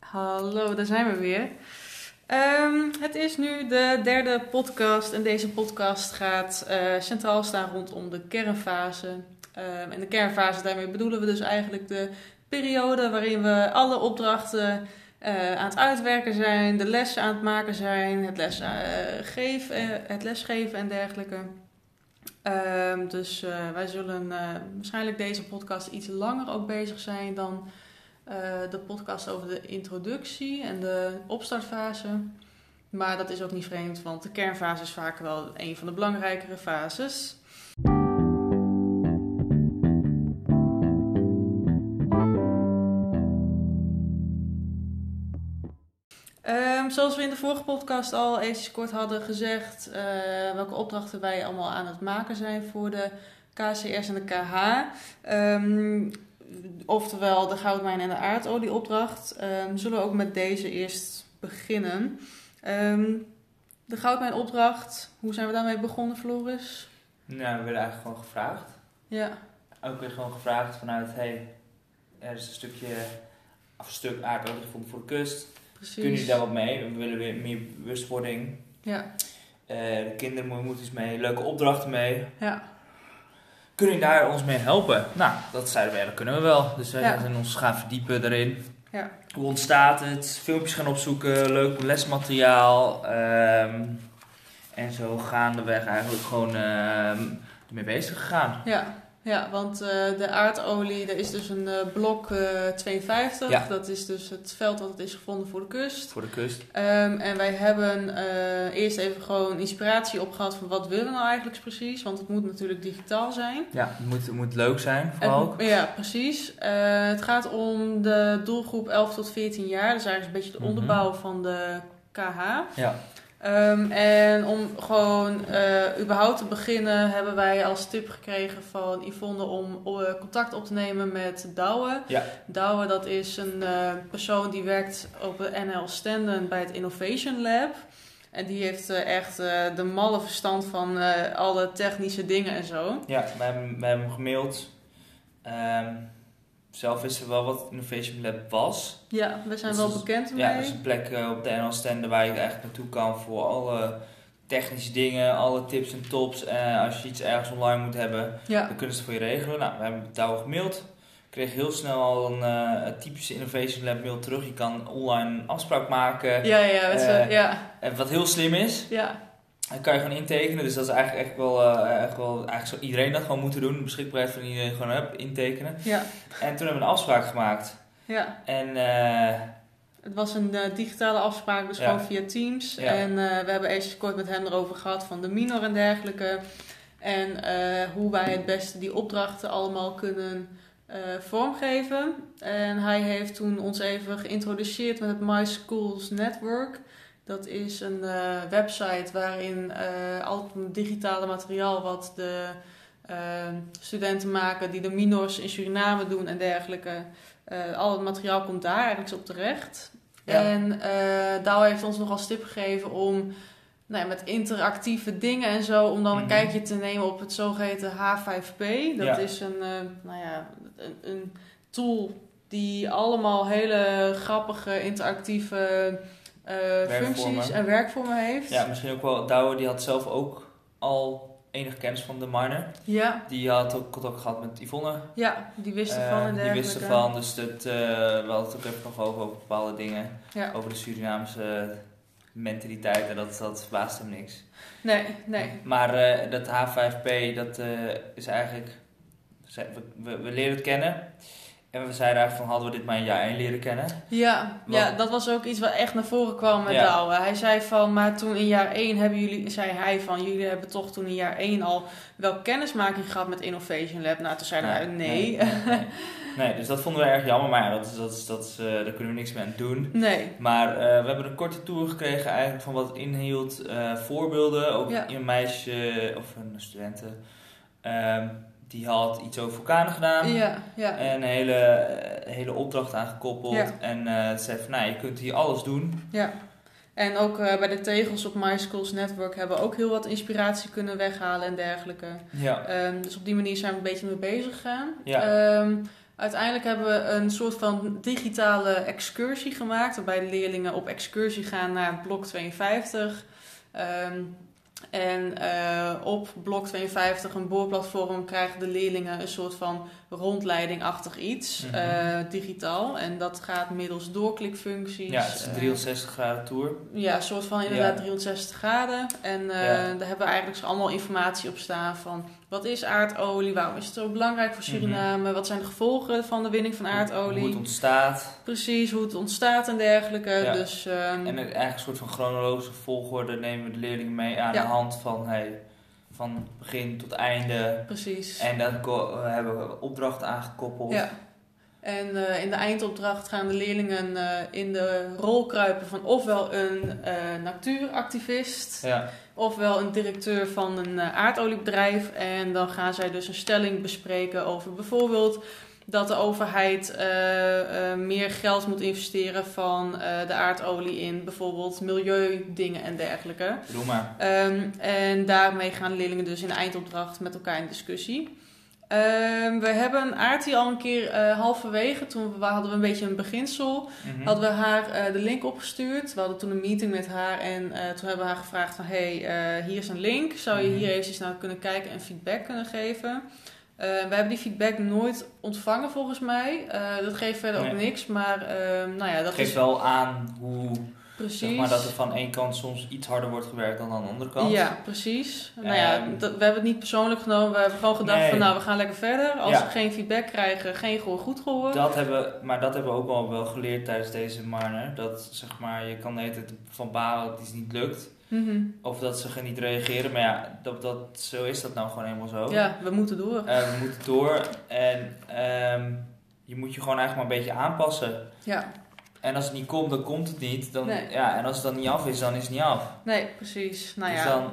Hallo, daar zijn we weer. Ehm, het is nu de derde podcast en deze podcast gaat eh, centraal staan rondom de kernfase. Ehm, en de kernfase, daarmee bedoelen we dus eigenlijk de periode waarin we alle opdrachten eh, aan het uitwerken zijn, de lessen aan het maken zijn, het, les, eh, geef, eh, het lesgeven en dergelijke. Ehm, dus eh, wij zullen eh, waarschijnlijk deze podcast iets langer ook bezig zijn dan eh, de podcast over de introductie en de opstartfase. Maar dat is ook niet vreemd, want de kernfase is vaak wel een van de belangrijkere fases. Ehm, zoals we in de vorige podcast al eens kort hadden gezegd, eh, welke opdrachten wij allemaal aan het maken zijn voor de KCS en de KH. Ehm, oftewel de goudmijn en de aardolieopdracht, ehm, zullen we ook met deze eerst beginnen. Ehm, de goudmijnopdracht, hoe zijn we daarmee begonnen, Floris? Nou, we werden eigenlijk gewoon gevraagd. Ja, Ook weer gewoon gevraagd vanuit, hey, er is een stukje, of een stuk aardolie gevonden voor de kust. precies. Kunnen jullie daar wat mee? We willen weer meer bewustwording. Ja, Eh, de kinderen moeten moet iets mee, leuke opdrachten mee. ja, Kunnen jullie daar ons mee helpen? Nou, dat zeiden we, ja, dat kunnen we wel. Dus wij Ja. zijn ons gaan verdiepen daarin. Ja. Hoe ontstaat het? Filmpjes gaan opzoeken, leuk lesmateriaal. ehm, en zo gaandeweg eigenlijk gewoon ehm ermee bezig gegaan. ja. Ja, want eh, de aardolie, er is dus een eh, blok eh, 52. Ja. Dat is dus het veld dat het is gevonden voor de kust. Voor de kust. Ehm, en wij hebben eh, eerst even gewoon inspiratie opgehad van wat willen we nou eigenlijk precies. Want het moet natuurlijk digitaal zijn. Ja, het moet, het moet leuk zijn En- vooral ook. Ja, precies. Eh, het gaat om de doelgroep 11 tot 14 jaar. Dat is eigenlijk een beetje de Mhm. onderbouw van de KH. Ja. Ehm, en om gewoon eh, überhaupt te beginnen hebben wij als tip gekregen van Yvonne om eh, contact op te nemen met Douwe. Ja. Douwe dat is een eh, persoon die werkt op de NL Standen bij het Innovation Lab. En die heeft eh, echt eh, de malle verstand van eh, alle technische dingen en zo. Ja, wij hebben, wij hebben hem gemaild. Ehm, zelf wisten we wel wat het Innovation Lab was. Ja, we zijn Dat wel is- bekend mee. Ja, dat is een plek eh, op de NL Stende waar je eigenlijk naartoe kan voor alle technische dingen, alle tips en tops. Eh, als je iets ergens online moet hebben, Ja, dan kunnen ze het voor je regelen. Nou, we hebben het daar gemaild. Ik kreeg heel snel al een eh, typische Innovation Lab mail terug. Je kan online een afspraak maken. ja, ja, het is, eh, eh, ja, En wat heel slim is, ja, Dan kan je gewoon intekenen, dus dat is eigenlijk echt wel, eh, echt wel eigenlijk zou iedereen dat gewoon moeten doen. De beschikbaarheid van iedereen gewoon hup, intekenen. ja, En toen hebben we een afspraak gemaakt. ja. En eh, Het was een eh, digitale afspraak, dus Ja. gewoon via Teams. Ja. En eh, we hebben eens kort met hem erover gehad van de minor en dergelijke. En eh, hoe wij het beste die opdrachten allemaal kunnen eh, vormgeven. En hij heeft toen ons even geïntroduceerd met het My Schools Network. Dat is een eh, website waarin eh, al het digitale materiaal wat de eh, studenten maken die de minors in Suriname doen en dergelijke. eh, al het materiaal komt daar ergens op terecht. Ja. En eh Douwe heeft ons nog als tip gegeven om nou ja, met interactieve dingen en zo, om dan een Mhm. kijkje te nemen op het zogeheten H5P. Dat Ja. is een, eh, nou ja, een, een tool die allemaal hele grappige interactieve eh, functies en werkvormen heeft. ja, misschien ook wel, Douwe die had zelf ook al enige kennis van de miner. ja, Die had ook contact gehad met Yvonne. ja, die wist Eh, ervan en die dergelijke. wist ervan, dus dat, eh, we hadden het ook even nog over, over bepaalde dingen. Ja. Over de Surinaamse mentaliteit en dat, dat baast hem niks. Nee, nee. Maar eh, dat H5P, dat eh, is eigenlijk... ze- We, we, we leren het kennen. En we zeiden eigenlijk van, hadden we dit maar in jaar 1 leren kennen? Ja, Wat- ja, dat was ook iets wat echt naar voren kwam met Ja. Douwe. Hij zei van, maar toen in jaar 1 hebben jullie, zei hij van, jullie hebben toch toen in jaar 1 al wel kennismaking gehad met Innovation Lab. Nou, toen zeiden wij, nee. Nee, nee. Nee, dus dat vonden we erg jammer. Maar ja, dat is, dat is, dat is, eh, daar kunnen we niks mee aan doen. Nee, Maar eh, we hebben een korte tour gekregen eigenlijk van wat het inhield. eh, voorbeelden, ook Ja. een meisje of een studente. ehm, die had iets over vulkanen gedaan. ja, ja. Een hele, eh, hele opdracht aangekoppeld. Ja. En eh zei van, nou, je kunt hier alles doen. Ja. En ook eh, bij de tegels op My Schools Network hebben we ook heel wat inspiratie kunnen weghalen en dergelijke. Ja. Ehm, dus op die manier zijn we een beetje mee bezig gegaan. Ja. Ehm, Uiteindelijk hebben we een soort van digitale excursie gemaakt, waarbij de leerlingen op excursie gaan naar blok 52. Ehm, en eh, op blok 52, een boorplatform, krijgen de leerlingen een soort van rondleidingachtig iets, Mhm. eh, digitaal. En dat gaat middels doorklikfuncties. Ja, het is een eh, 360 graden tour. ja, een soort van inderdaad Ja. 360 graden. En eh, Ja. daar hebben we eigenlijk zo allemaal informatie op staan van wat is aardolie, waarom is het zo belangrijk voor Suriname, wat zijn de gevolgen van de winning van Mhm. Hoe het aardolie, ontstaat. precies hoe het ontstaat en dergelijke. Ja. Dus ehm, En eh, eigenlijk een soort van chronologische volgorde nemen we de leerlingen mee aan Ja. de hand van, hey, van begin tot einde. precies. En dan ko- hebben we opdrachten aangekoppeld. Ja. En eh, in de eindopdracht gaan de leerlingen eh, in de rol kruipen van ofwel een eh, natuuractivist, Ja. ofwel een directeur van een eh, aardoliebedrijf. En dan gaan zij dus een stelling bespreken over bijvoorbeeld dat de overheid eh, eh, meer geld moet investeren van eh, de aardolie in bijvoorbeeld milieudingen en dergelijke. Doe maar. Ehm, en daarmee gaan leerlingen dus in de eindopdracht met elkaar in discussie. Ehm, we hebben Aartie al een keer eh, halverwege, toen we, hadden we een beetje een beginsel. Mhm. Hadden we haar eh, de link opgestuurd. We hadden toen een meeting met haar en eh, toen hebben we haar gevraagd van... hey, eh, hier is een link. Zou je Mhm. hier eventjes naar kunnen kijken en feedback kunnen geven? Eh, we hebben die feedback nooit ontvangen volgens mij. Eh, dat geeft verder ook Nee. niks, maar ehm, nou ja, dat Het geeft is wel aan hoe precies... zeg maar, dat er van één kant soms iets harder wordt gewerkt dan aan de andere kant. Ja, precies. nou ja, Ehm. dat, we hebben het niet persoonlijk genomen. We hebben gewoon gedacht Nee. van nou, we gaan lekker verder. Als Ja. we geen feedback krijgen, geen gehoor goed gehoor. Dat hebben, maar dat hebben we ook al wel geleerd tijdens deze Marner. Dat zeg maar, je kan de hele tijd van balen dat iets niet lukt. Mhm. Of dat ze gaan niet reageren. Maar ja, dat, dat, zo is dat nou gewoon helemaal zo. Ja, we moeten door. Eh, we moeten door. En ehm, je moet je gewoon eigenlijk maar een beetje aanpassen. Ja, En als het niet komt, dan komt het niet. Dan, Nee. ja, en als het dan niet af is, dan is het niet af. nee, precies. Nou dus ja, dan,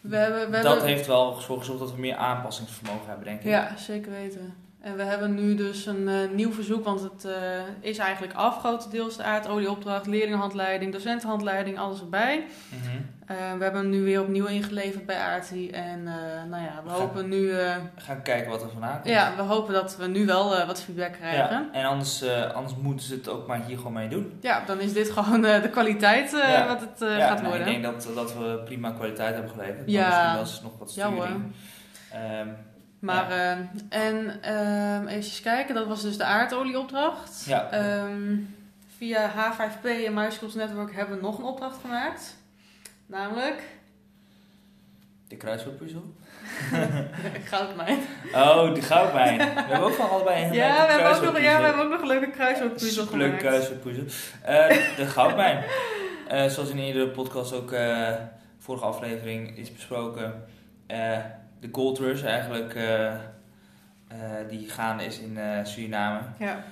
we hebben... We dat hebben... heeft wel ervoor gezorgd dat we meer aanpassingsvermogen hebben, denk ik. Ja, zeker weten. En we hebben nu dus een eh, nieuw verzoek, want het eh, is eigenlijk af, grotendeels de aardolieopdracht, leerlingenhandleiding, docentenhandleiding, alles erbij. Mhm. Eh, we hebben hem nu weer opnieuw ingeleverd bij ARTI en eh, nou ja, we Ga- hopen nu, eh, We gaan kijken wat er vandaan komt. ja, we hopen dat we nu wel eh, wat feedback krijgen. Ja. Ja, en anders, eh, anders moeten ze het ook maar hier gewoon mee doen. dan is dit gewoon eh, de kwaliteit eh, Ja. wat het eh, ja, gaat nou, worden. ik denk dat, dat we prima kwaliteit hebben geleverd. Ja. Ja. Dat is nog wat Ja, sturing. hoor. Ehm, Maar, eh, en ehm even kijken, dat was dus de aardolieopdracht. Ja. Ehm, via H5P en MySchools Network hebben we nog een opdracht gemaakt. Namelijk, de kruiswoordpuzzel. goudmijn. Oh, de goudmijn. we hebben ook van allebei een Ja, we hebben ook nog, ja, we hebben ook nog een leuke kruiswoordpuzzel een gemaakt. leuke kruiswoordpuzzel. Eh, de goudmijn. Eh, zoals in eerdere podcast ook eh, vorige aflevering is besproken. eh, de Gold Rush eigenlijk eh, eh, die gaande is in eh, Suriname. Ja,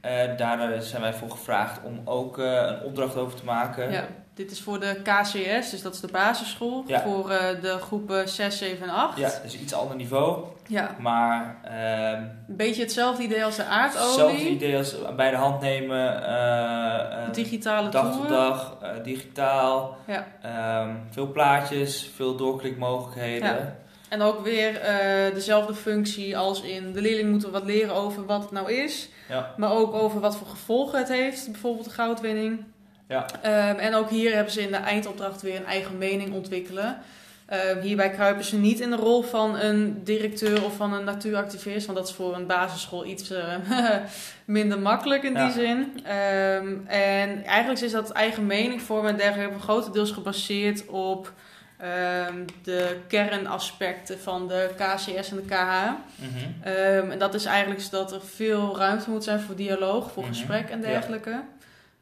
Eh, daar zijn wij voor gevraagd om ook eh, een opdracht over te maken. ja, dit is voor de KCS, dus dat is de basisschool. Ja. Voor eh, de groepen 6, 7 en 8. Ja, dus iets ander niveau, Ja, maar ehm Een beetje hetzelfde idee als de hetzelfde aardolie. idee als bij de hand nemen, eh, eh, Digitale dag tot toeren. dag, eh, digitaal, Ja. Ehm, veel plaatjes, veel doorklikmogelijkheden. Ja. En ook weer eh, dezelfde functie als in de leerling moet er wat leren over wat het nou is. Ja. Maar ook over wat voor gevolgen het heeft, bijvoorbeeld de goudwinning. Ja. Ehm, en ook hier hebben ze in de eindopdracht weer een eigen mening ontwikkelen. Ehm, hierbij kruipen ze niet in de rol van een directeur of van een natuuractivist, want dat is voor een basisschool iets eh, minder makkelijk in Ja. die zin. Ehm, en eigenlijk is dat eigen mening vormen en dergelijke grotendeels gebaseerd op ehm, de kernaspecten van de KCS en de KH. Mhm. Ehm, en dat is eigenlijk dat er veel ruimte moet zijn voor dialoog, voor Mhm, gesprek en ja. dergelijke.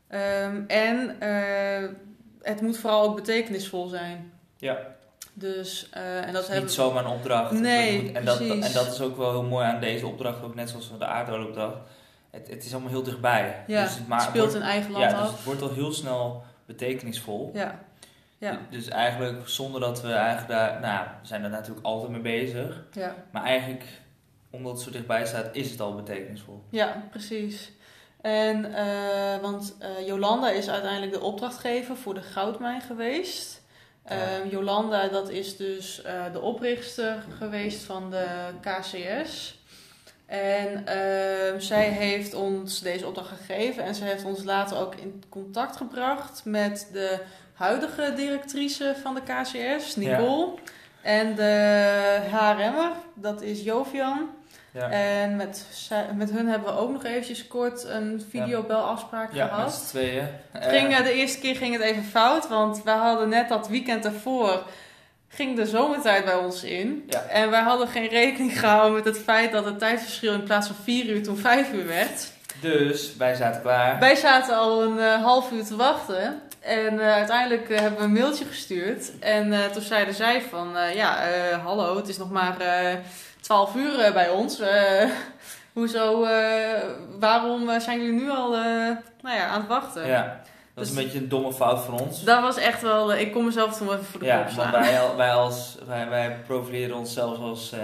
Ehm, en eh, het moet vooral ook betekenisvol zijn. Ja. Dus, eh, en dat Het is hebben niet zomaar een opdracht. Nee, Het moet- en, dat, precies. en dat is ook wel heel mooi aan deze opdracht, ook net zoals de aardolieopdracht. Het, het is allemaal heel dichtbij. ja, dus het ma- het speelt wordt- in eigen land ja, dus af. het wordt al heel snel betekenisvol. Ja. Ja. Dus eigenlijk zonder dat we eigenlijk daar, nou, we zijn daar natuurlijk altijd mee bezig. ja. Maar eigenlijk, omdat het zo dichtbij staat, is het al betekenisvol. Ja, precies. En, eh, want eh, Jolanda is uiteindelijk de opdrachtgever voor de goudmijn geweest. Ja. Ehm, Jolanda, dat is dus eh, de oprichter geweest van de KCS. En ehm, zij heeft ons deze opdracht gegeven en ze heeft ons later ook in contact gebracht met de huidige directrice van de KCS, Nicole. En de HRM'er, dat is Jovian. Ja. En met, zij- met hun hebben we ook nog eventjes kort een videobelafspraak ja, met gehad. z'n tweeën. Het ging, eh, de eerste keer ging het even fout, want wij hadden net dat weekend ervoor ging de zomertijd bij ons in. Ja. En wij hadden geen rekening gehouden met het feit dat het tijdverschil in plaats van 4 uur toen 5 uur werd. Dus wij zaten klaar. Wij zaten al een eh, half uur te wachten. En eh, uiteindelijk eh, hebben we een mailtje gestuurd. En eh, toen zeiden zij van, eh, ja, eh, hallo, het is nog maar eh 12 uur eh, bij ons. Eh, hoezo, eh, waarom eh, zijn jullie nu al eh, nou ja, aan het wachten? Ja, dat is Dus- een beetje een domme fout van ons. Dat was echt wel, eh, ik kon mezelf toen wel even voor de kop Ja, want slaan. wij, al- wij, als, wij, wij profileren onszelf als, eh,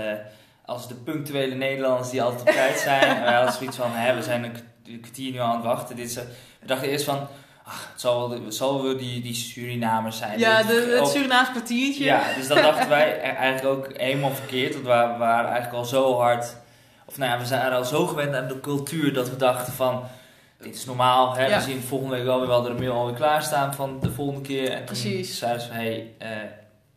als de punctuele Nederlanders die altijd op tijd zijn. En wij hadden zoiets van, hè, we zijn een k- een kwartier nu aan het wachten. Dit is, eh, we dachten eerst van, ach, het zal wel, de- het zal wel die, die Surinamers zijn. Ja, Dus de, het op- Surinaams kwartiertje. Ja, dus dat dachten wij e- eigenlijk ook helemaal verkeerd. Want we wa- we waren eigenlijk al zo hard... Of nou ja, we zijn al zo gewend aan de cultuur dat we dachten van... Dit is normaal, hè? Ja. we zien volgende week wel weer wel de mail alweer klaarstaan van de volgende keer. En toen Precies. zeiden ze van, hé, eh,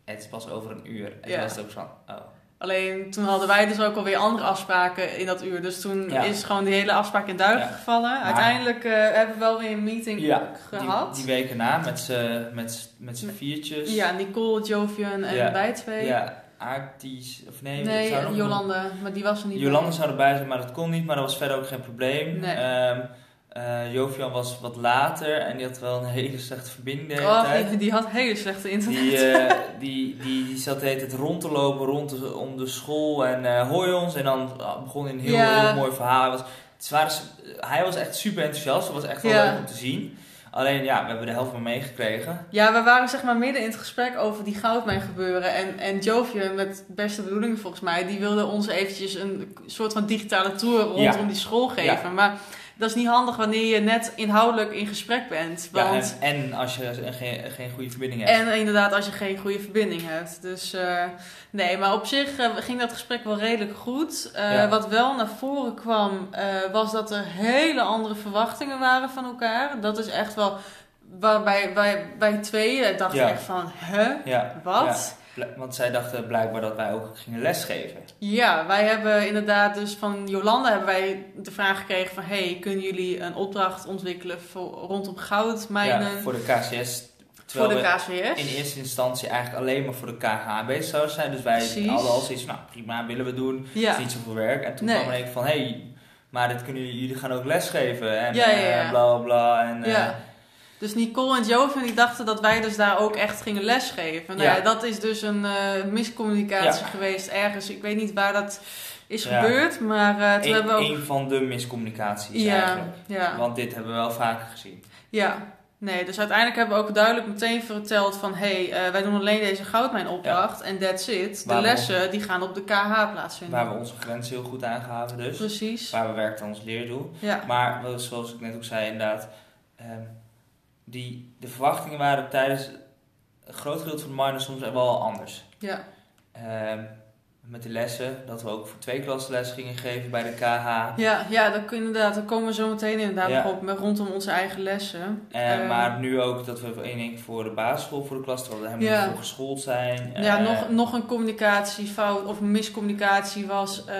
het is pas over een uur. En Ja. toen was het ook van, oh. Alleen toen hadden wij dus ook alweer andere afspraken in dat uur. Dus toen Ja. is gewoon die hele afspraak in duigen Ja. gevallen. Uiteindelijk eh, hebben we wel weer een meeting Ja, gehad. Die, die weken na, met z'n met z'n- met z'n viertjes. Ja, Nicole, Jovian en Ja. wij twee. Ja, Aarties, of nee, nee, zou nog- Jolanda, maar die was er niet Jolanda bij. zou erbij zijn, maar dat kon niet. Maar dat was verder ook geen probleem. Nee. Ehm, eh, Jovian was wat later en die had wel een hele slechte verbinding. de hele Oh, tijd. die, die had hele slechte internet. Die, eh, die, die, die zat de hele tijd rond te lopen rond de- om de school en eh hooi ons. En dan ah, begon hij een heel, Ja. heel mooi verhaal. Hij was, het waren ze- hij was echt super enthousiast. Dat was echt wel Ja. leuk om te zien. Alleen ja, we hebben de helft maar meegekregen. Ja, we waren zeg maar midden in het gesprek over die goudmijn gebeuren. En, en Jovian, met beste bedoelingen volgens mij, die wilde ons eventjes een soort van digitale tour rondom die school geven. Maar dat is niet handig wanneer je net inhoudelijk in gesprek bent. Ja, en, Want, en als je een- geen, geen goede verbinding hebt. en inderdaad als je geen goede verbinding hebt. Dus eh, nee, maar op zich eh, ging dat gesprek wel redelijk goed. Eh, Ja. Wat wel naar voren kwam, eh, was dat er hele andere verwachtingen waren van elkaar. Dat is echt wel... Waarbij wij, wij tweeën dachten Ja. echt van, hè? ja, Wat? bl- want zij dachten blijkbaar dat wij ook gingen lesgeven. Ja. wij hebben inderdaad dus van Jolanda hebben wij de vraag gekregen van... hey, kunnen jullie een opdracht ontwikkelen voor, rondom goudmijnen Ja, eh, voor, voor de KCS. Terwijl de we KVS? in eerste instantie eigenlijk alleen maar voor de KH bezig zouden zijn. Dus wij Precies. hadden al zoiets van, nou prima, willen we doen. Het Ja, is niet zoveel werk. En toen Nee. kwam er een van, hé, hey, maar dit kunnen jullie, jullie gaan ook lesgeven. En Ja, ja, ja. eh, bla bla bla. En, eh, ja. Dus Nicole en Joven die dachten dat wij dus daar ook echt gingen lesgeven. Nou ja, Ja. dat is dus een eh, miscommunicatie geweest ergens. Ik weet niet waar dat is Ja. gebeurd, maar eh, toen een, hebben we ook... een van de miscommunicaties ja, eigenlijk. ja. Want dit hebben we wel vaker gezien. Ja, nee, dus uiteindelijk hebben we ook duidelijk meteen verteld van... hé, hey, eh, wij doen alleen deze goudmijnopdracht en that's it. De Waarom? lessen die gaan op de KH plaatsvinden. Waar we onze grenzen heel goed aangehaven dus. Precies, Waar we werken aan ons leerdoel. ja. Maar wel, zoals ik net ook zei, inderdaad, ehm, die, de verwachtingen waren tijdens een groot gedeelte van de minor soms wel anders. Ja. Ehm, met de lessen, dat we ook voor twee klassen les gingen geven bij de KH. Ja, ja dat, kun- inderdaad, daar komen we zo meteen inderdaad Ja. nog op met, rondom onze eigen lessen. En, Ehm. Eh, maar nu ook dat we één ding voor de basisschool voor de klas, terwijl we helemaal Ja. niet voor geschoold zijn. ja, Eh, nog, nog een communicatiefout of miscommunicatie was... eh,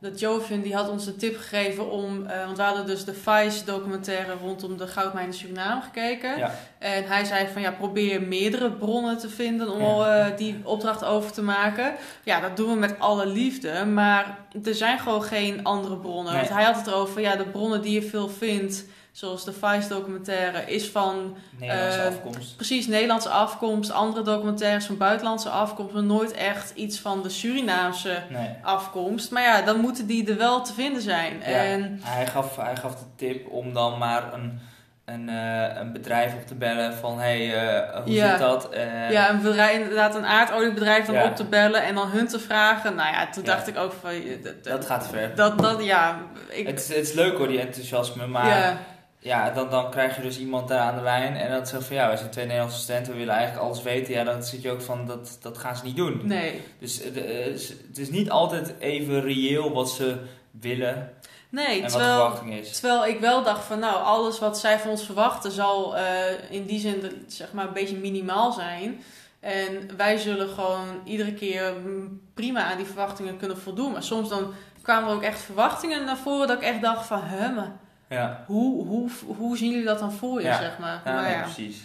dat Jovian die had ons de tip gegeven om... eh, want we hadden dus de Vice documentaire rondom de goudmijnen Suriname gekeken. Ja. En hij zei van ja, probeer meerdere bronnen te vinden om Ja. al, eh, die opdracht over te maken. Ja, dat doen we met alle liefde, maar er zijn gewoon geen andere bronnen. Nee. Want hij had het erover, ja, de bronnen die je veel vindt, zoals de Vice documentaire, is van Nederlandse eh, afkomst. precies Nederlandse afkomst, andere documentaires van buitenlandse afkomst, maar nooit echt iets van de Surinaamse Nee. afkomst. Maar ja, dan moeten die er wel te vinden zijn. Ja. En Hij, gaf, hij gaf de tip om dan maar een, een, eh, een bedrijf op te bellen van hé, hey, eh, hoe Ja. zit dat? Eh, Ja, een bedrijf, inderdaad een aardoliebedrijf dan Ja. op te bellen en dan hun te vragen. Nou ja, toen Ja. dacht ik ook van... eh, Dat, Dat dat, gaat ver. dat, ja, ik... Het, is- het is leuk hoor, die enthousiasme, maar ja, ja, dan, dan krijg je dus iemand daar aan de lijn en dat zegt van ja, wij zijn twee Nederlandse studenten, we willen eigenlijk alles weten. Ja, dan zit je ook van dat, dat gaan ze niet doen. nee. Dus eh, de- eh, ze- het is niet altijd even reëel wat ze willen Nee, en wat de terwijl, verwachting is. terwijl ik wel dacht van nou, alles wat zij van ons verwachten zal eh, in die zin de- zeg maar een beetje minimaal zijn. En wij zullen gewoon iedere keer mm, prima aan die verwachtingen kunnen voldoen. Maar soms dan kwamen er ook echt verwachtingen naar voren dat ik echt dacht van... hè, maar Ja, hoe, hoe, hoe zien jullie dat dan voor je, Ja. zeg maar. ja, maar nee, ja. precies.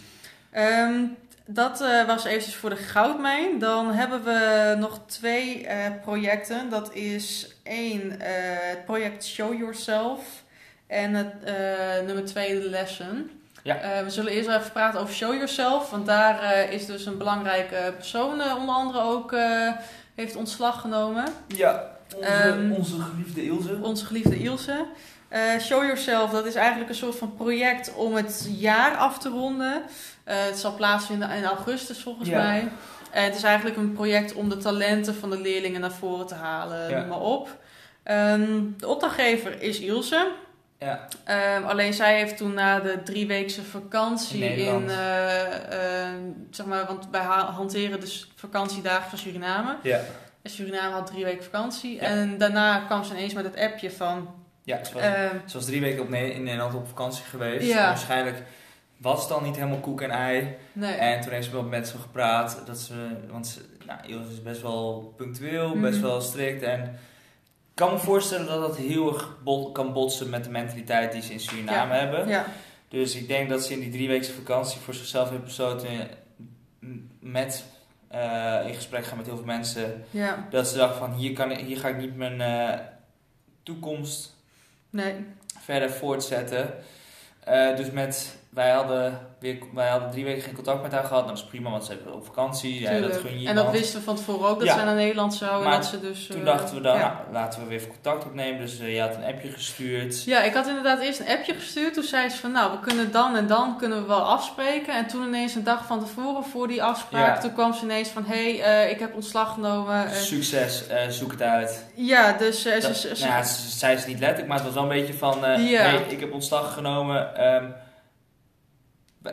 Ehm, dat eh, was eventjes voor de goudmijn. Dan hebben we nog twee eh, projecten. Dat is één, eh, het project Show Yourself. En het eh, nummer twee, de Lesson. Ja. Eh, we zullen eerst wel even praten over Show Yourself. Want daar eh, is dus een belangrijke persoon, eh, onder andere ook, eh, heeft ontslag genomen. Ja, onze- Ehm, geliefde Ilse. Onze geliefde Ilse. Eh, Show Yourself, dat is eigenlijk een soort van project om het jaar af te ronden. Eh, het zal plaatsvinden in augustus volgens Ja. mij. Eh, het is eigenlijk een project om de talenten van de leerlingen naar voren te halen, Ja. noem maar op. Ehm, de opdrachtgever is Ilse. Ja, Ehm, alleen zij heeft toen na de drieweekse vakantie In in, Nederland. eh, eh, zeg maar, want wij ha- hanteren dus vakantiedagen van Suriname. ja. En Suriname had drie weken vakantie. Ja. En daarna kwam ze ineens met het appje van. ja ze, was, ehm, ze was drie weken op Ne- in Nederland op vakantie geweest. Ja. En Waarschijnlijk was het dan niet helemaal koek en ei. nee. En toen heeft ze wel met ze gepraat. Dat ze, want ze, nou, Ilse is best wel punctueel, best Mhm. wel strikt. En ik kan me voorstellen dat dat heel erg bot- kan botsen met de mentaliteit die ze in Suriname hebben. ja. Dus ik denk dat ze in die drieweekse vakantie voor zichzelf heeft besloten eh, m- met, eh, in gesprek gaan met heel veel mensen. ja, Dat ze dacht van hier, kan, ik- hier ga ik niet mijn eh, toekomst nee. verder voortzetten. Eh, dus met, wij hadden, weer, wij hadden drie weken geen contact met haar gehad. Nou, dat is prima, want ze hebben op vakantie. Ja, dat tuurlijk. gun je en dat iemand. wisten we van tevoren ook dat Ja. ze naar Nederland zou. En Maar dat ze dus, Toen eh, dachten we dan, Ja. nou, laten we weer even contact opnemen. Dus eh, je had een appje gestuurd. Ja, ik had inderdaad eerst een appje gestuurd. Toen zei ze van, nou, we kunnen dan en dan kunnen we wel afspreken. En toen ineens een dag van tevoren voor die afspraak, Ja. toen kwam ze ineens van, hé, hey, eh, ik heb ontslag genomen. Eh, Succes, eh, zoek het uit. ja, dus eh, ze, Dat- ze, ze- nou ja, ze ze zei ze niet letterlijk, maar het was wel een beetje van... eh, Ja. hey, ik heb ontslag genomen. ehm,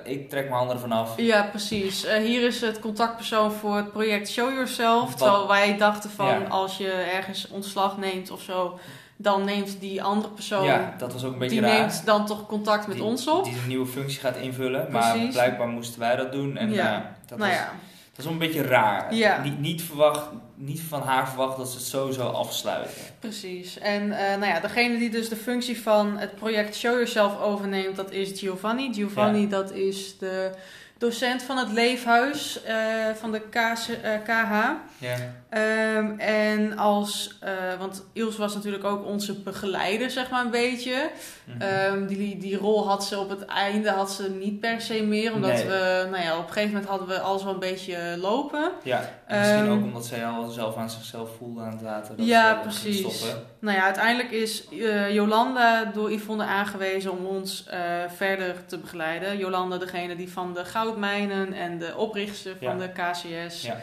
ik trek mijn handen ervan af. ja, precies. Eh, hier is het contactpersoon voor het project Show Yourself. Wat- Terwijl wij dachten van, Ja. als je ergens ontslag neemt of zo, dan neemt die andere persoon... ja, dat was ook een beetje die raar. neemt dan toch contact met Die- ons op. Die een nieuwe functie gaat invullen. Maar Precies. blijkbaar moesten wij dat doen. En Ja. eh, dat, nou was, ja, dat was wel een beetje raar. Ja. Niet, niet, verwacht, niet van haar verwacht dat ze het zo zou afsluiten. precies. En eh, nou ja, degene die dus de functie van het project Show Yourself overneemt, dat is Giovanni. Giovanni, dat is de docent van het Leefhuis eh, van de KC, eh, KH. Ja. Ehm, en als, eh, want Ilse was natuurlijk ook onze begeleider, zeg maar een beetje. Mhm. Ehm, die, die rol had ze op het einde had ze niet per se meer, omdat Nee. we, nou ja, op een gegeven moment hadden we alles wel een beetje lopen. ja. En misschien ehm, ook omdat zij al zelf aan zichzelf voelde aan het laten. Dat Ja, ze dat ging precies. Stoppen. Nou ja, uiteindelijk is eh, Jolanda door Yvonne aangewezen om ons eh, verder te begeleiden. Jolanda, degene die van de goudmijnen en de oprichter van Ja. de KCS. Ja.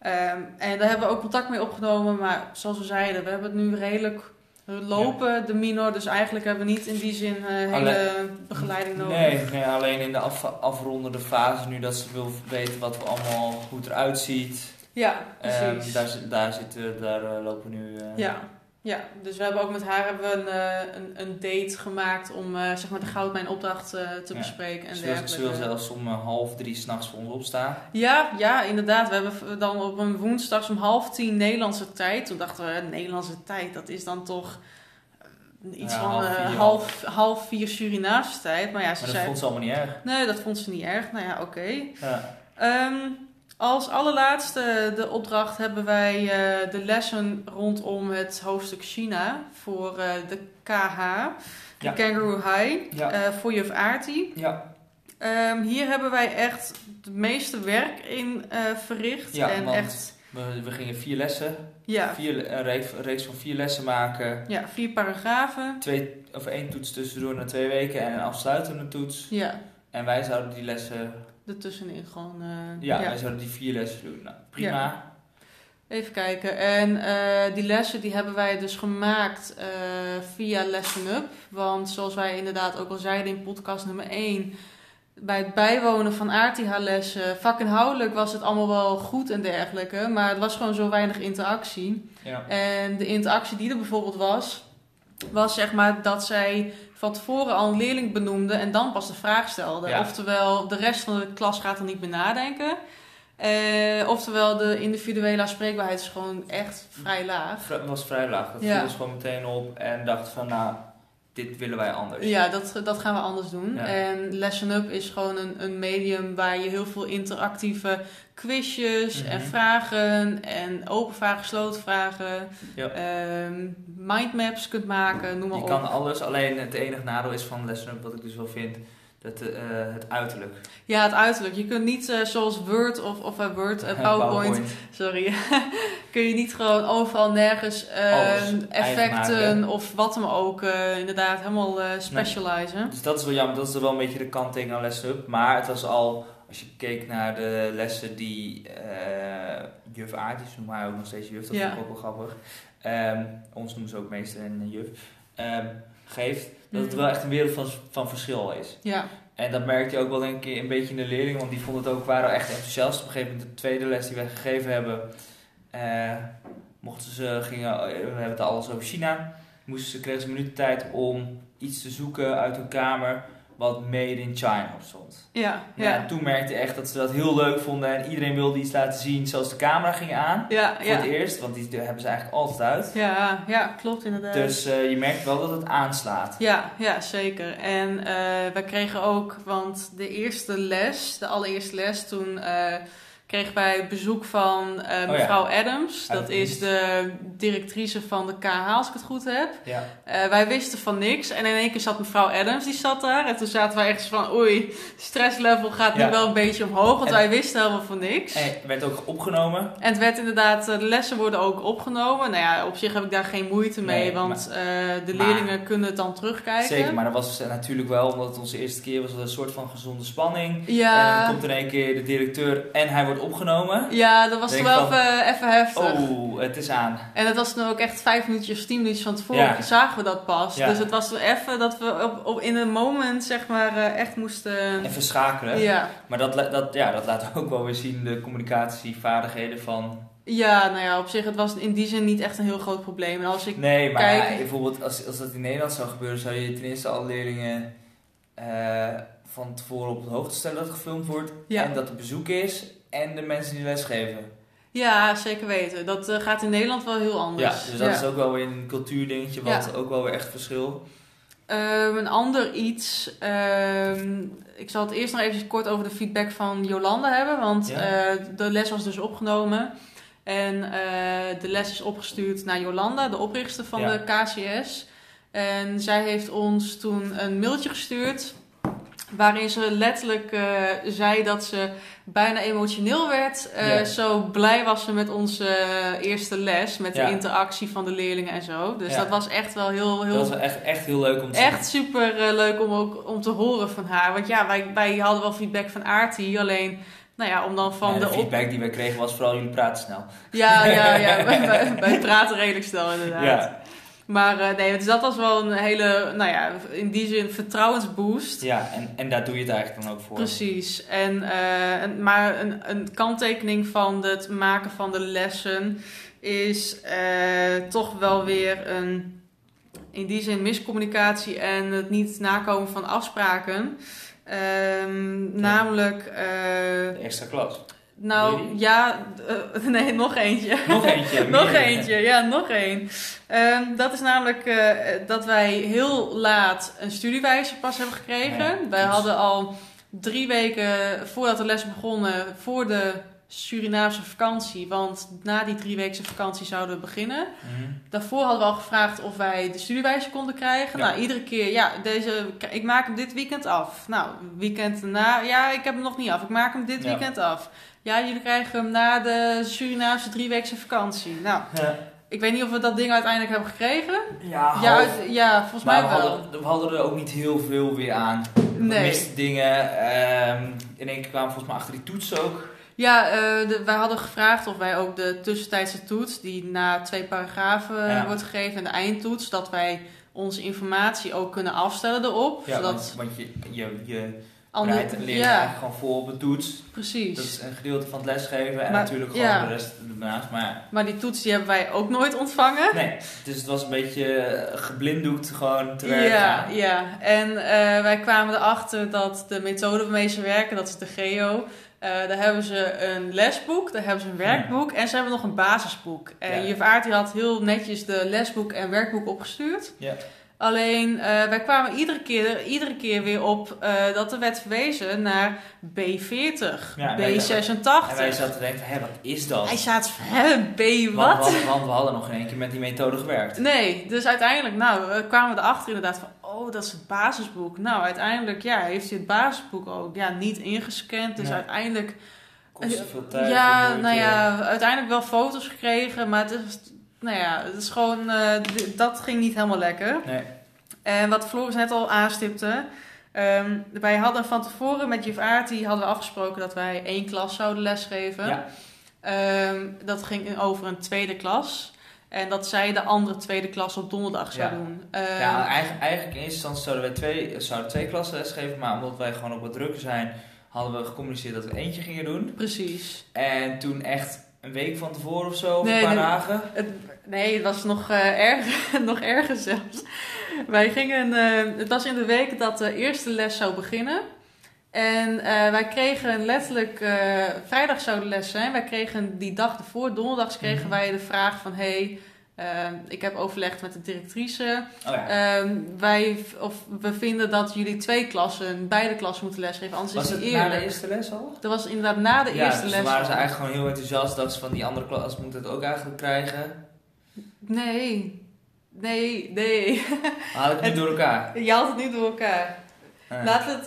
Ehm, en daar hebben we ook contact mee opgenomen, maar zoals we zeiden, we hebben het nu redelijk lopen, de minor. Dus eigenlijk hebben we niet in die zin eh, hele begeleiding nodig. Nee, nee, alleen in de af, afrondende fase, nu dat ze wil weten wat we allemaal, hoe het eruit ziet. Ja, Ehm, precies. daar, zit- daar, zitten, daar eh, lopen we nu. eh, Ja. Ja, dus we hebben ook met haar hebben we een, eh, een, een date gemaakt om eh, zeg maar de goudmijnopdracht eh, te Ja. bespreken en Ze wil, dergelijke. ze wil zelfs om eh, half drie s'nachts voor ons opstaan. Ja, ja, inderdaad. We hebben v- dan op een woensdags om half tien Nederlandse tijd. Toen dachten we, hè, Nederlandse tijd, dat is dan toch eh, iets Ja, van half eh, vier. half, half vier Surinaamse tijd. Maar ja, ze Maar dat zei... vond ze allemaal niet erg. Nee, dat vond ze niet erg. Nou ja, oké. Ja. Ehm, als allerlaatste de opdracht hebben wij eh, de lessen rondom het hoofdstuk China voor eh, de KH, de Ja. Kangaroo High, Ja. eh, voor juf Aartie. ja. Ehm, hier hebben wij echt het meeste werk in eh, verricht. Ja, en want- echt, We, we gingen vier lessen, ja, vier, een reeks, een reeks van vier lessen maken. ja, vier paragrafen. Twee, of één toets tussendoor na twee weken en een afsluitende toets. Ja, En wij zouden die lessen, ertussenin gewoon. eh, ja, dus- ja. wij zouden die vier lessen doen. Nou, prima. Even kijken. En eh, die lessen die hebben wij dus gemaakt eh, via Lesson Up. Want zoals wij inderdaad ook al zeiden in podcast nummer 1... bij het bijwonen van RTH-lessen... vakinhoudelijk was het allemaal wel goed en dergelijke... maar het was gewoon zo weinig interactie. Ja. En de interactie die er bijvoorbeeld was... was zeg maar dat zij van tevoren al een leerling benoemde en dan pas de vraag stelde. Ja. Oftewel, de rest van de klas gaat er niet meer nadenken. Eh, oftewel, de individuele aanspreekbaarheid is gewoon echt vrij laag. Het was vrij laag. Dat Ja. viel ons gewoon meteen op en dachten van, nou, dit willen wij anders. Ja, dat, dat gaan we anders doen. Ja. En Lesson Up is gewoon een, een medium waar je heel veel interactieve quizjes en Mhm. vragen en open vragen, gesloten vragen, Ja. ehm, mindmaps kunt maken, noem maar Je op. kan alles, alleen het enige nadeel is van Lesson Up, wat ik dus wel vind, dat, eh, het uiterlijk. Ja, het uiterlijk. Je kunt niet eh, zoals Word of, of eh, Word, eh, PowerPoint, sorry, kun je niet gewoon overal nergens eh, Alles eigen effecten maken. of wat dan ook eh, inderdaad helemaal eh specializen. Dus dat is wel jammer, dat is wel een beetje de kanttekening aan Lesson Up. Maar het was al, als je keek naar de lessen die eh, juf Aartjes, noem haar ook nog steeds juf, dat Ja. vind ik ook wel grappig. Ehm, ons noemen ze ook meester en juf. ehm, geeft, dat het Mhm. wel echt een wereld van, van verschil is. Ja. En dat merkte je ook wel een keer een beetje in de leerlingen, want die vonden het ook, waren echt enthousiast. Op een gegeven moment de tweede les die wij gegeven hebben, eh, mochten ze, gingen, eh, we hebben het alles over China, moesten ze, kregen ze een minuut tijd om iets te zoeken uit hun kamer wat made in China op stond. Ja, Nou, ja. en toen merkte je echt dat ze dat heel leuk vonden en iedereen wilde iets laten zien, zelfs de camera ging aan. Ja, Voor ja. het eerst, want die hebben ze eigenlijk altijd uit. Ja, ja, klopt inderdaad. Dus eh, je merkt wel dat het aanslaat. Ja, ja, zeker. En eh, wij kregen ook, want de eerste les, de allereerste les, toen eh, kregen wij bezoek van eh, Oh ja. mevrouw Adams. Uit Dat dienst. is de directrice van de KH, als ik het goed heb. Ja. Eh, wij wisten van niks en in één keer zat mevrouw Adams, die zat daar. En toen zaten wij ergens van, oei, stresslevel gaat Ja. nu wel een beetje omhoog, want En- wij wisten helemaal van niks. En het werd ook opgenomen. En het werd inderdaad, eh, de lessen worden ook opgenomen. Nou ja, op zich heb ik daar geen moeite mee, Nee, want eh, de maar- leerlingen kunnen het dan terugkijken. Zeker, maar dat was natuurlijk wel, omdat het onze eerste keer was, was het een soort van gezonde spanning. En Ja, dan komt in één keer de directeur en hij wordt opgenomen. ja dat was toch Denk wel van- even, even heftig. Oh, het is aan. En dat was toen ook echt vijf minuutjes, tien minuutjes van tevoren Ja. zagen we dat pas. Ja. Dus het was toen even dat we op, op, in een moment zeg maar eh, echt moesten... Even schakelen. Ja. Maar dat, la- dat, ja, dat laat ook wel weer zien de communicatievaardigheden van... ja, nou ja, op zich het was in die zin niet echt een heel groot probleem. En als ik... Nee, maar Kijk. ja, bijvoorbeeld als, als dat in Nederland zou gebeuren, zou je ten eerste alle leerlingen eh, van tevoren op de hoogte stellen dat het gefilmd wordt. Ja. En dat er bezoek is en de mensen die lesgeven. Ja, zeker weten. Dat eh, gaat in Nederland wel heel Ja, anders. dus dat is ook wel weer een cultuurdingetje, wat ook wel weer echt verschil. Ehm, een ander iets. ehm, ik zal het eerst nog even kort over de feedback van Jolanda hebben. Want Ja. eh, de les was dus opgenomen. En eh, de les is opgestuurd naar Jolanda, de oprichter van Ja. de KCS. En zij heeft ons toen een mailtje gestuurd. Waarin ze letterlijk eh, zei dat ze bijna emotioneel werd. Eh, Ja. Zo blij was ze met onze eh, eerste les. Met Ja. de interactie van de leerlingen en zo. Dus Ja. dat was echt wel heel, heel Dat was wel echt, echt heel leuk om te zien. Echt super eh, leuk om ook om te horen van haar. Want ja, wij, wij hadden wel feedback van Aartie. Alleen, nou ja, om dan van Ja, de, de, op... feedback die wij kregen was vooral jullie praten snel. Ja, ja, ja. wij, wij- wij praten redelijk snel inderdaad. Maar eh, nee, dus dat was wel een hele, nou ja, in die zin vertrouwensboost. ja en, en daar doe je het eigenlijk dan ook voor. Precies. En, eh, een- maar een, een kanttekening van het maken van de lessen is eh, toch wel weer een, in die zin miscommunicatie en het niet nakomen van afspraken. Ehm, Namelijk, eh, De extra klas. nou Wil je ja, eh, nee, nog eentje. Nog eentje. Nog meer. eentje, ja, nog één. Ehm, dat is namelijk eh, dat wij heel laat een studiewijze pas hebben gekregen. Ja. Wij hadden al drie weken voordat de les begonnen, voor de Surinaamse vakantie. Want na die drie weken vakantie zouden we beginnen. Mhm. Daarvoor hadden we al gevraagd of wij de studiewijze konden krijgen. Ja. Nou, iedere keer, ja, deze, ik maak hem dit weekend af. Nou, weekend na, ja, ik heb hem nog niet af. Ik maak hem dit Ja. weekend af. Ja, jullie krijgen hem na de Surinaamse drieweekse vakantie. Nou, Ja, ik weet niet of we dat ding uiteindelijk hebben gekregen. ja, ja, half. uit- ja, volgens Ah, oh. maar we mij wel. hadden, we hadden er ook niet heel veel weer aan. We Nee. misten dingen. ehm, in één keer kwamen we volgens mij achter die toets ook. Ja, eh, de- wij hadden gevraagd of wij ook de tussentijdse toets, die na twee paragrafen eh, Ja. wordt gegeven, en de eindtoets, dat wij onze informatie ook kunnen afstellen erop. Ja, zodat want, want je, je, je Andere, bereidt de leerling ja, eigenlijk gewoon vol op een toets. precies. Dat is een gedeelte van het lesgeven en Maar- natuurlijk gewoon ja. de rest ernaast. Maar Maar die toets die hebben wij ook nooit ontvangen. nee, dus het was een beetje eh, geblinddoekt gewoon te werk Ja, gaan. ja, en eh, wij kwamen erachter dat de methode waarmee ze werken, dat is de GEO, eh, daar hebben ze een lesboek, daar hebben ze een werkboek en ze hebben nog een basisboek. En Ja. juf Aart die had heel netjes de lesboek en werkboek opgestuurd. Ja. Alleen eh, wij kwamen iedere keer, iedere keer weer op eh, dat de werd verwezen naar B40, Ja, en wij B86. En wij zaten te denken, hé, wat is dat? Hij staat, hè, B Want- wat? Want, want we hadden nog geen één keer met die methode gewerkt. Nee, dus uiteindelijk nou, eh, kwamen we erachter inderdaad van, oh, dat is het basisboek. Nou, uiteindelijk ja, heeft hij het basisboek ook ja, niet ingescand. Dus Nee. uiteindelijk, Kostte veel tijd. veel ja, moeite. nou ja, uiteindelijk wel foto's gekregen, maar het is, nou ja, het is gewoon, eh, d- dat ging niet helemaal lekker. Nee. En wat Floris net al aanstipte, ehm, wij hadden van tevoren met juf Aartie hadden we afgesproken dat wij één klas zouden lesgeven. Ja. Ehm, dat ging over een tweede klas. En dat zij de andere tweede klas op donderdag zou Ja. doen. Ehm, Ja, eigenlijk, eigenlijk in eerste instantie zouden wij twee, zouden twee klassen lesgeven, maar omdat wij gewoon op wat drukker zijn, hadden we gecommuniceerd dat we eentje gingen doen. Precies. En toen echt een week van tevoren of zo, of Nee, een paar nee. dagen. Het, nee, het was nog, eh erger, nog erger zelfs. Wij gingen, eh, het was in de week dat de eerste les zou beginnen. En eh, wij kregen letterlijk, eh, vrijdag zou de les zijn. Wij kregen die dag ervoor, donderdags, kregen Mhm. wij de vraag van... hey, eh, ik heb overlegd met de directrice. Oh ja. Ehm, wij, v- of we vinden dat jullie twee klassen, beide klassen moeten lesgeven, anders was is het het niet na de eerlijk. eerste les al? Dat was inderdaad na de ja, eerste dus les. toen waren ze al. eigenlijk gewoon heel enthousiast. Dachten ze van die andere klas moet het ook eigenlijk krijgen. Nee, nee, nee. Maar had ik niet Het- door elkaar. Je haalt het nu door elkaar. Eh, Laten we het,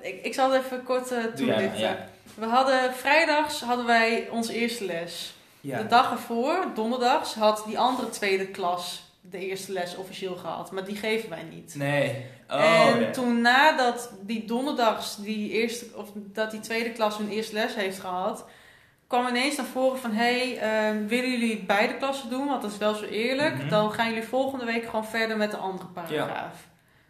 eh, ik, ik zal het even kort eh, doe jij maar, toelichten. We hadden, vrijdags hadden wij onze eerste les. ja. De Ja. dag ervoor, donderdags, had die andere tweede klas de eerste les officieel gehad. Maar die geven wij niet. Nee. Oh, en ja. toen nadat die donderdags die eerste, of dat die tweede klas hun eerste les heeft gehad, kwam ineens naar voren van hey, ehm, willen jullie beide klassen doen? Want dat is wel zo eerlijk. Mhm. Dan gaan jullie volgende week gewoon verder met de andere paragraaf.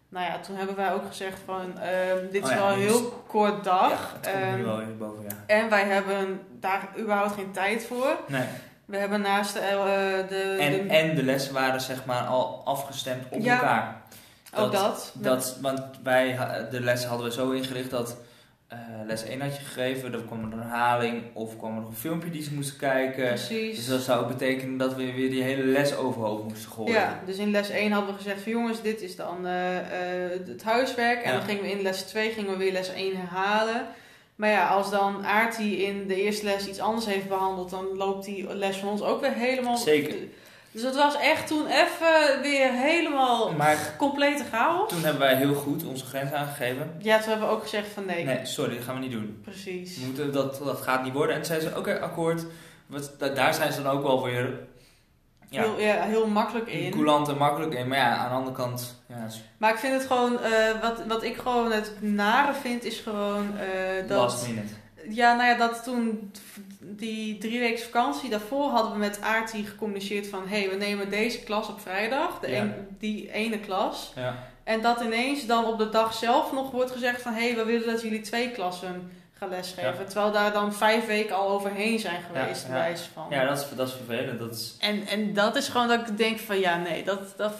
Nou ja, toen hebben wij ook gezegd van ehm, dit Oh is ja, wel een nu heel is- kort dag. Ja, het komt nu Ehm, wel hierboven, ja. en wij hebben daar überhaupt geen tijd voor. Nee. We hebben naast de, eh, de, En, de- en de lessen waren zeg maar al afgestemd op Ja. elkaar. ook Oh, dat- oh, dat. Dat, want wij, ha- de les hadden we zo ingericht dat eh, les 1 had je gegeven, dan kwam er een herhaling of kwam er nog een filmpje die ze moesten kijken. Precies. Dus dat zou ook betekenen dat we weer die hele les overhoofd moesten gooien. Ja, dus in les 1 hadden we gezegd van jongens, dit is dan eh, eh, het huiswerk. En Ja. dan gingen we in les 2 gingen we weer les 1 herhalen. Maar ja, als dan Aartie in de eerste les iets anders heeft behandeld, dan loopt die les van ons ook weer helemaal. Zeker. Dus dat was echt toen even weer helemaal Maar complete chaos. toen hebben wij heel goed onze grens aangegeven. Ja, toen hebben we ook gezegd van nee, Nee, sorry, dat gaan we niet doen. precies. We moeten, dat, dat gaat niet worden. En toen zeiden ze, oké, akkoord. Wat, da- daar zijn ze dan ook wel weer ja, Heel, ja, heel makkelijk in. coulant en makkelijk in. Maar ja, aan de andere kant... Ja, is Maar ik vind het gewoon, eh, wat, wat ik gewoon het nare vind, is gewoon eh, dat. last minute. Ja, nou ja, dat toen die drie weken vakantie, daarvoor hadden we met Aartie gecommuniceerd van... hé, hey, we nemen deze klas op vrijdag, de Ja. een- die ene klas. Ja. En dat ineens dan op de dag zelf nog wordt gezegd van... hé, hey, we willen dat jullie twee klassen gaan lesgeven. Terwijl daar dan vijf weken al overheen zijn geweest, Ja, bij ja. wijze van. ja, dat is, dat is vervelend. Dat is, En, en dat is gewoon dat ik denk van ja, nee, dat, dat,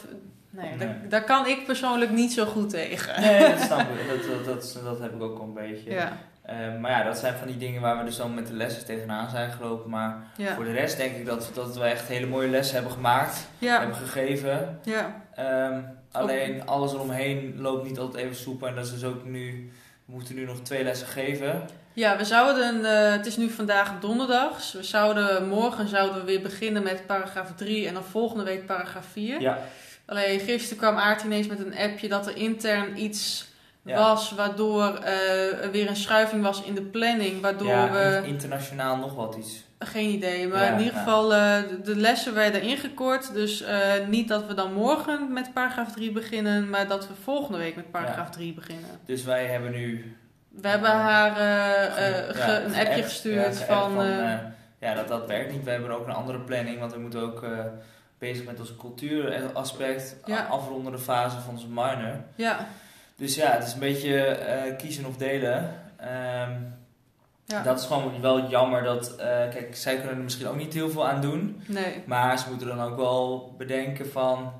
nee, Nee. Daar, daar kan ik persoonlijk niet zo goed tegen. Nee, dat snap ik. Dat, dat, dat, dat heb ik ook al een beetje. Ja, Eh, maar ja, dat zijn van die dingen waar we dus dan met de lessen tegenaan zijn gelopen. Maar ja, voor de rest denk ik dat, dat we echt hele mooie lessen hebben gemaakt, ja, hebben gegeven. ja, Ehm, alleen alles eromheen loopt niet altijd even soepel. En dat is dus ook nu, we moeten nu nog twee lessen geven. Ja, we zouden, eh, het is nu vandaag donderdags, we zouden, morgen zouden we weer beginnen met paragraaf 3 en dan volgende week paragraaf 4. Ja. Alleen gisteren kwam Aart ineens met een appje dat er intern iets Ja. was, waardoor eh, er weer een schuiving was in de planning, waardoor ja, we, in- internationaal nog wat iets. geen idee, maar Ja, in ieder ja. geval eh, de- de lessen werden ingekort. Dus eh, niet dat we dan morgen met paragraaf 3 beginnen, maar dat we volgende week met paragraaf 3 beginnen. Dus wij hebben nu We hebben haar eh, eh, ge- ja, een geappt, appje ja, gestuurd geappt van... eh, eh, ja, dat, dat werkt niet. We hebben ook een andere planning, want we moeten ook eh, bezig met onze cultuuraspect, Ja. afrondende fase van onze minor. ja. Dus ja, het is een beetje eh, kiezen of delen. Ehm, Ja. Dat is gewoon wel jammer dat, eh, kijk, zij kunnen er misschien ook niet heel veel aan doen. Nee. Maar ze moeten dan ook wel bedenken van,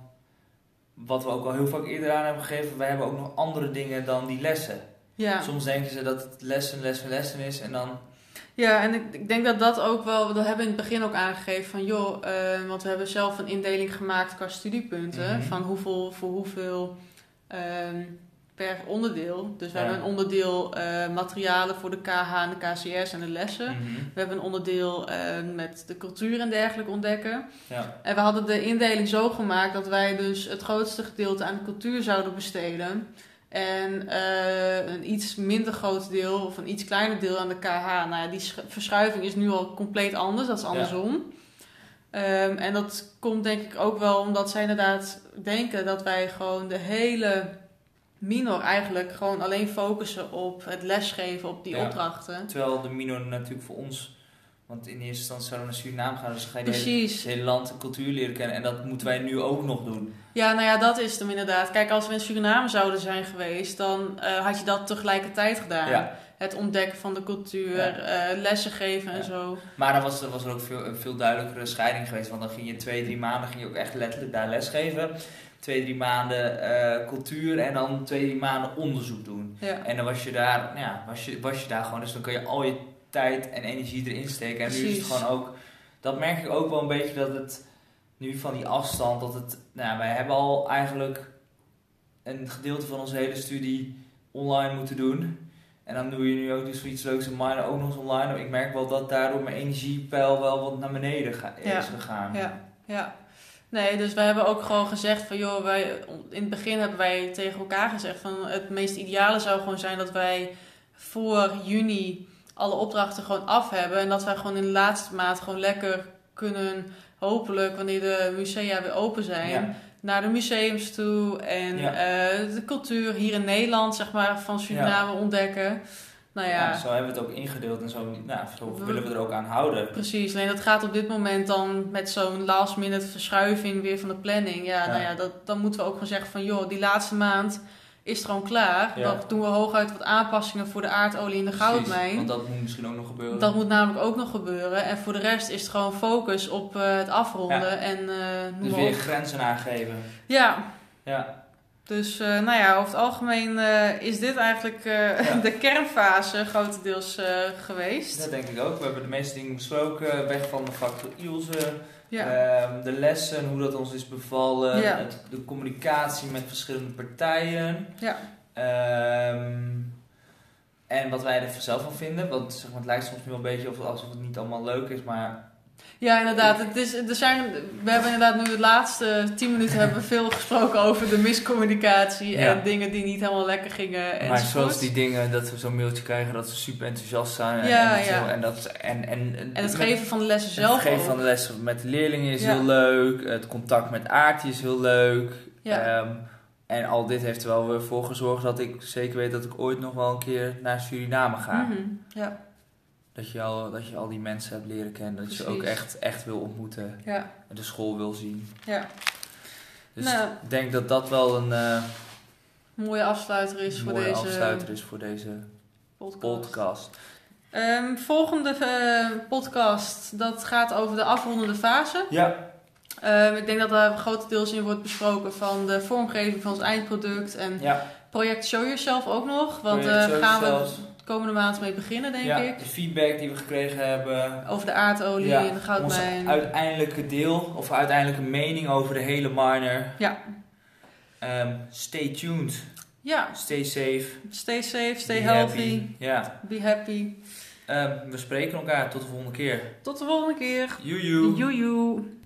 wat we ook al heel vaak eerder aan hebben gegeven, wij hebben ook nog andere dingen dan die lessen. Ja. Soms denken ze dat het lessen, lessen, lessen is en dan, Ja, en ik, ik denk dat dat ook wel, dat hebben we in het begin ook aangegeven van joh, eh, want we hebben zelf een indeling gemaakt qua studiepunten, Mhm. van hoeveel voor hoeveel ehm, per onderdeel. Dus we Ja. hebben een onderdeel eh, materialen voor de KH en de KCS en de lessen. mhm, We hebben een onderdeel eh, met de cultuur en dergelijke ontdekken. ja, En we hadden de indeling zo gemaakt dat wij dus het grootste gedeelte aan de cultuur zouden besteden. En eh, een iets minder groot deel of een iets kleiner deel aan de KH. Nou ja, die sch- verschuiving is nu al compleet anders, dat is andersom. Ehm, en dat komt denk ik ook wel omdat zij inderdaad denken dat wij gewoon de hele minor eigenlijk gewoon alleen focussen op het lesgeven, op die Ja. opdrachten. terwijl de minor natuurlijk voor ons, want in eerste instantie zouden we naar Suriname gaan, dus dan ga je de hele- Precies. het hele land en cultuur leren kennen en dat moeten wij nu ook nog doen. Ja, nou ja, dat is het hem inderdaad. Kijk, als we in Suriname zouden zijn geweest, dan eh, had je dat tegelijkertijd gedaan. Ja. Het ontdekken van de cultuur, Ja. eh, lessen geven en Ja. zo. Maar dan was er, was er ook veel, een veel duidelijkere scheiding geweest. Want dan ging je twee, drie maanden ging je ook echt letterlijk daar lesgeven. Twee, drie maanden eh, cultuur en dan twee, drie maanden onderzoek doen. Ja. En dan was je daar, nou ja, was je, was je daar gewoon. Dus dan kun je al je tijd en energie erin steken. En nu is het Precies. gewoon ook, dat merk ik ook wel een beetje dat het nu van die afstand, dat het, nou ja, wij hebben al eigenlijk een gedeelte van onze hele studie online moeten doen. En dan doe je nu ook dus zoiets leuks en mine ook nog eens online. Ik merk wel dat daardoor mijn energiepeil wel wat naar beneden ga- Ja. is gegaan. Ja, ja. Nee, dus we hebben ook gewoon gezegd van joh, wij, in het begin hebben wij tegen elkaar gezegd van het meest ideale zou gewoon zijn dat wij voor juni alle opdrachten gewoon af hebben. En dat wij gewoon in de laatste maand gewoon lekker kunnen, hopelijk wanneer de musea weer open zijn, Ja. naar de museums toe en Ja. eh, de cultuur hier in Nederland, zeg maar, van Suriname ontdekken. Nou ja, Ja, zo hebben we het ook ingedeeld en zo, nou, zo We- willen we er ook aan houden. Precies, alleen dat gaat op dit moment dan met zo'n last minute verschuiving weer van de planning. Ja, Ja. nou ja, dat, dan moeten we ook gewoon zeggen van joh, die laatste maand is het gewoon klaar. Ja. Dan doen we hooguit wat aanpassingen voor de aardolie en de Precies, goudmijn. Want dat moet misschien ook nog gebeuren. Dat moet namelijk ook nog gebeuren. En voor de rest is het gewoon focus op eh, het afronden Ja. en eh noem dus maar weer op. grenzen aangeven. Ja, Ja, dus eh, nou ja, over het algemeen eh, is dit eigenlijk eh, Ja. de kernfase grotendeels eh, geweest. dat denk ik ook. We hebben de meeste dingen besproken. Weg van de factor Ilse. Ja. Ehm, de lessen, hoe dat ons is bevallen. Ja. Het- de communicatie met verschillende partijen. Ja. Ehm, en wat wij er zelf van vinden. Want zeg maar, het lijkt soms nu wel een beetje of- alsof het niet allemaal leuk is. Maar Ja, inderdaad. Het is, er zijn, we hebben inderdaad nu de laatste tien minuten hebben we veel gesproken over de miscommunicatie Ja. en dingen die niet helemaal lekker gingen. maar enzovoort. zoals die dingen dat we zo'n mailtje krijgen dat ze super enthousiast zijn. en- Ja, en, ja. En, dat, en, en, En het geven van de lessen Het zelf. geven ook. van de lessen met de leerlingen is Ja. heel leuk. Het contact met Aartje is heel leuk. ja. Ehm, en al dit heeft er wel weer voor gezorgd dat ik zeker weet dat ik ooit nog wel een keer naar Suriname ga. Mhm, ja, Dat, je al, dat je al die mensen hebt leren kennen. Dat je ze ook Precies. echt, echt wil ontmoeten. ja, En de school wil zien. ja. Dus Nou. ik denk dat dat wel een eh, Mooie afsluiter is voor mooie deze afsluiter is voor deze podcast. podcast. Ehm, volgende eh, podcast, dat gaat over de afrondende fase. Ja, Ehm, ik denk dat daar grotendeels in wordt besproken van de vormgeving van ons eindproduct en ja. project Show Yourself ook nog. Want Project eh, Show gaan we Yourself. de komende maand mee beginnen, denk ja, ik. De feedback die we gekregen hebben. Over de aardolie Ja, en de goudmijn. Onze uiteindelijke deel, of uiteindelijke mening over de hele minor. Ja. Ehm, stay tuned. Ja, Stay safe. stay safe, stay Be healthy, happy. Ja. be happy. Ehm, we spreken elkaar. Tot de volgende keer. Tot de volgende keer. Joejoe. Joejoe.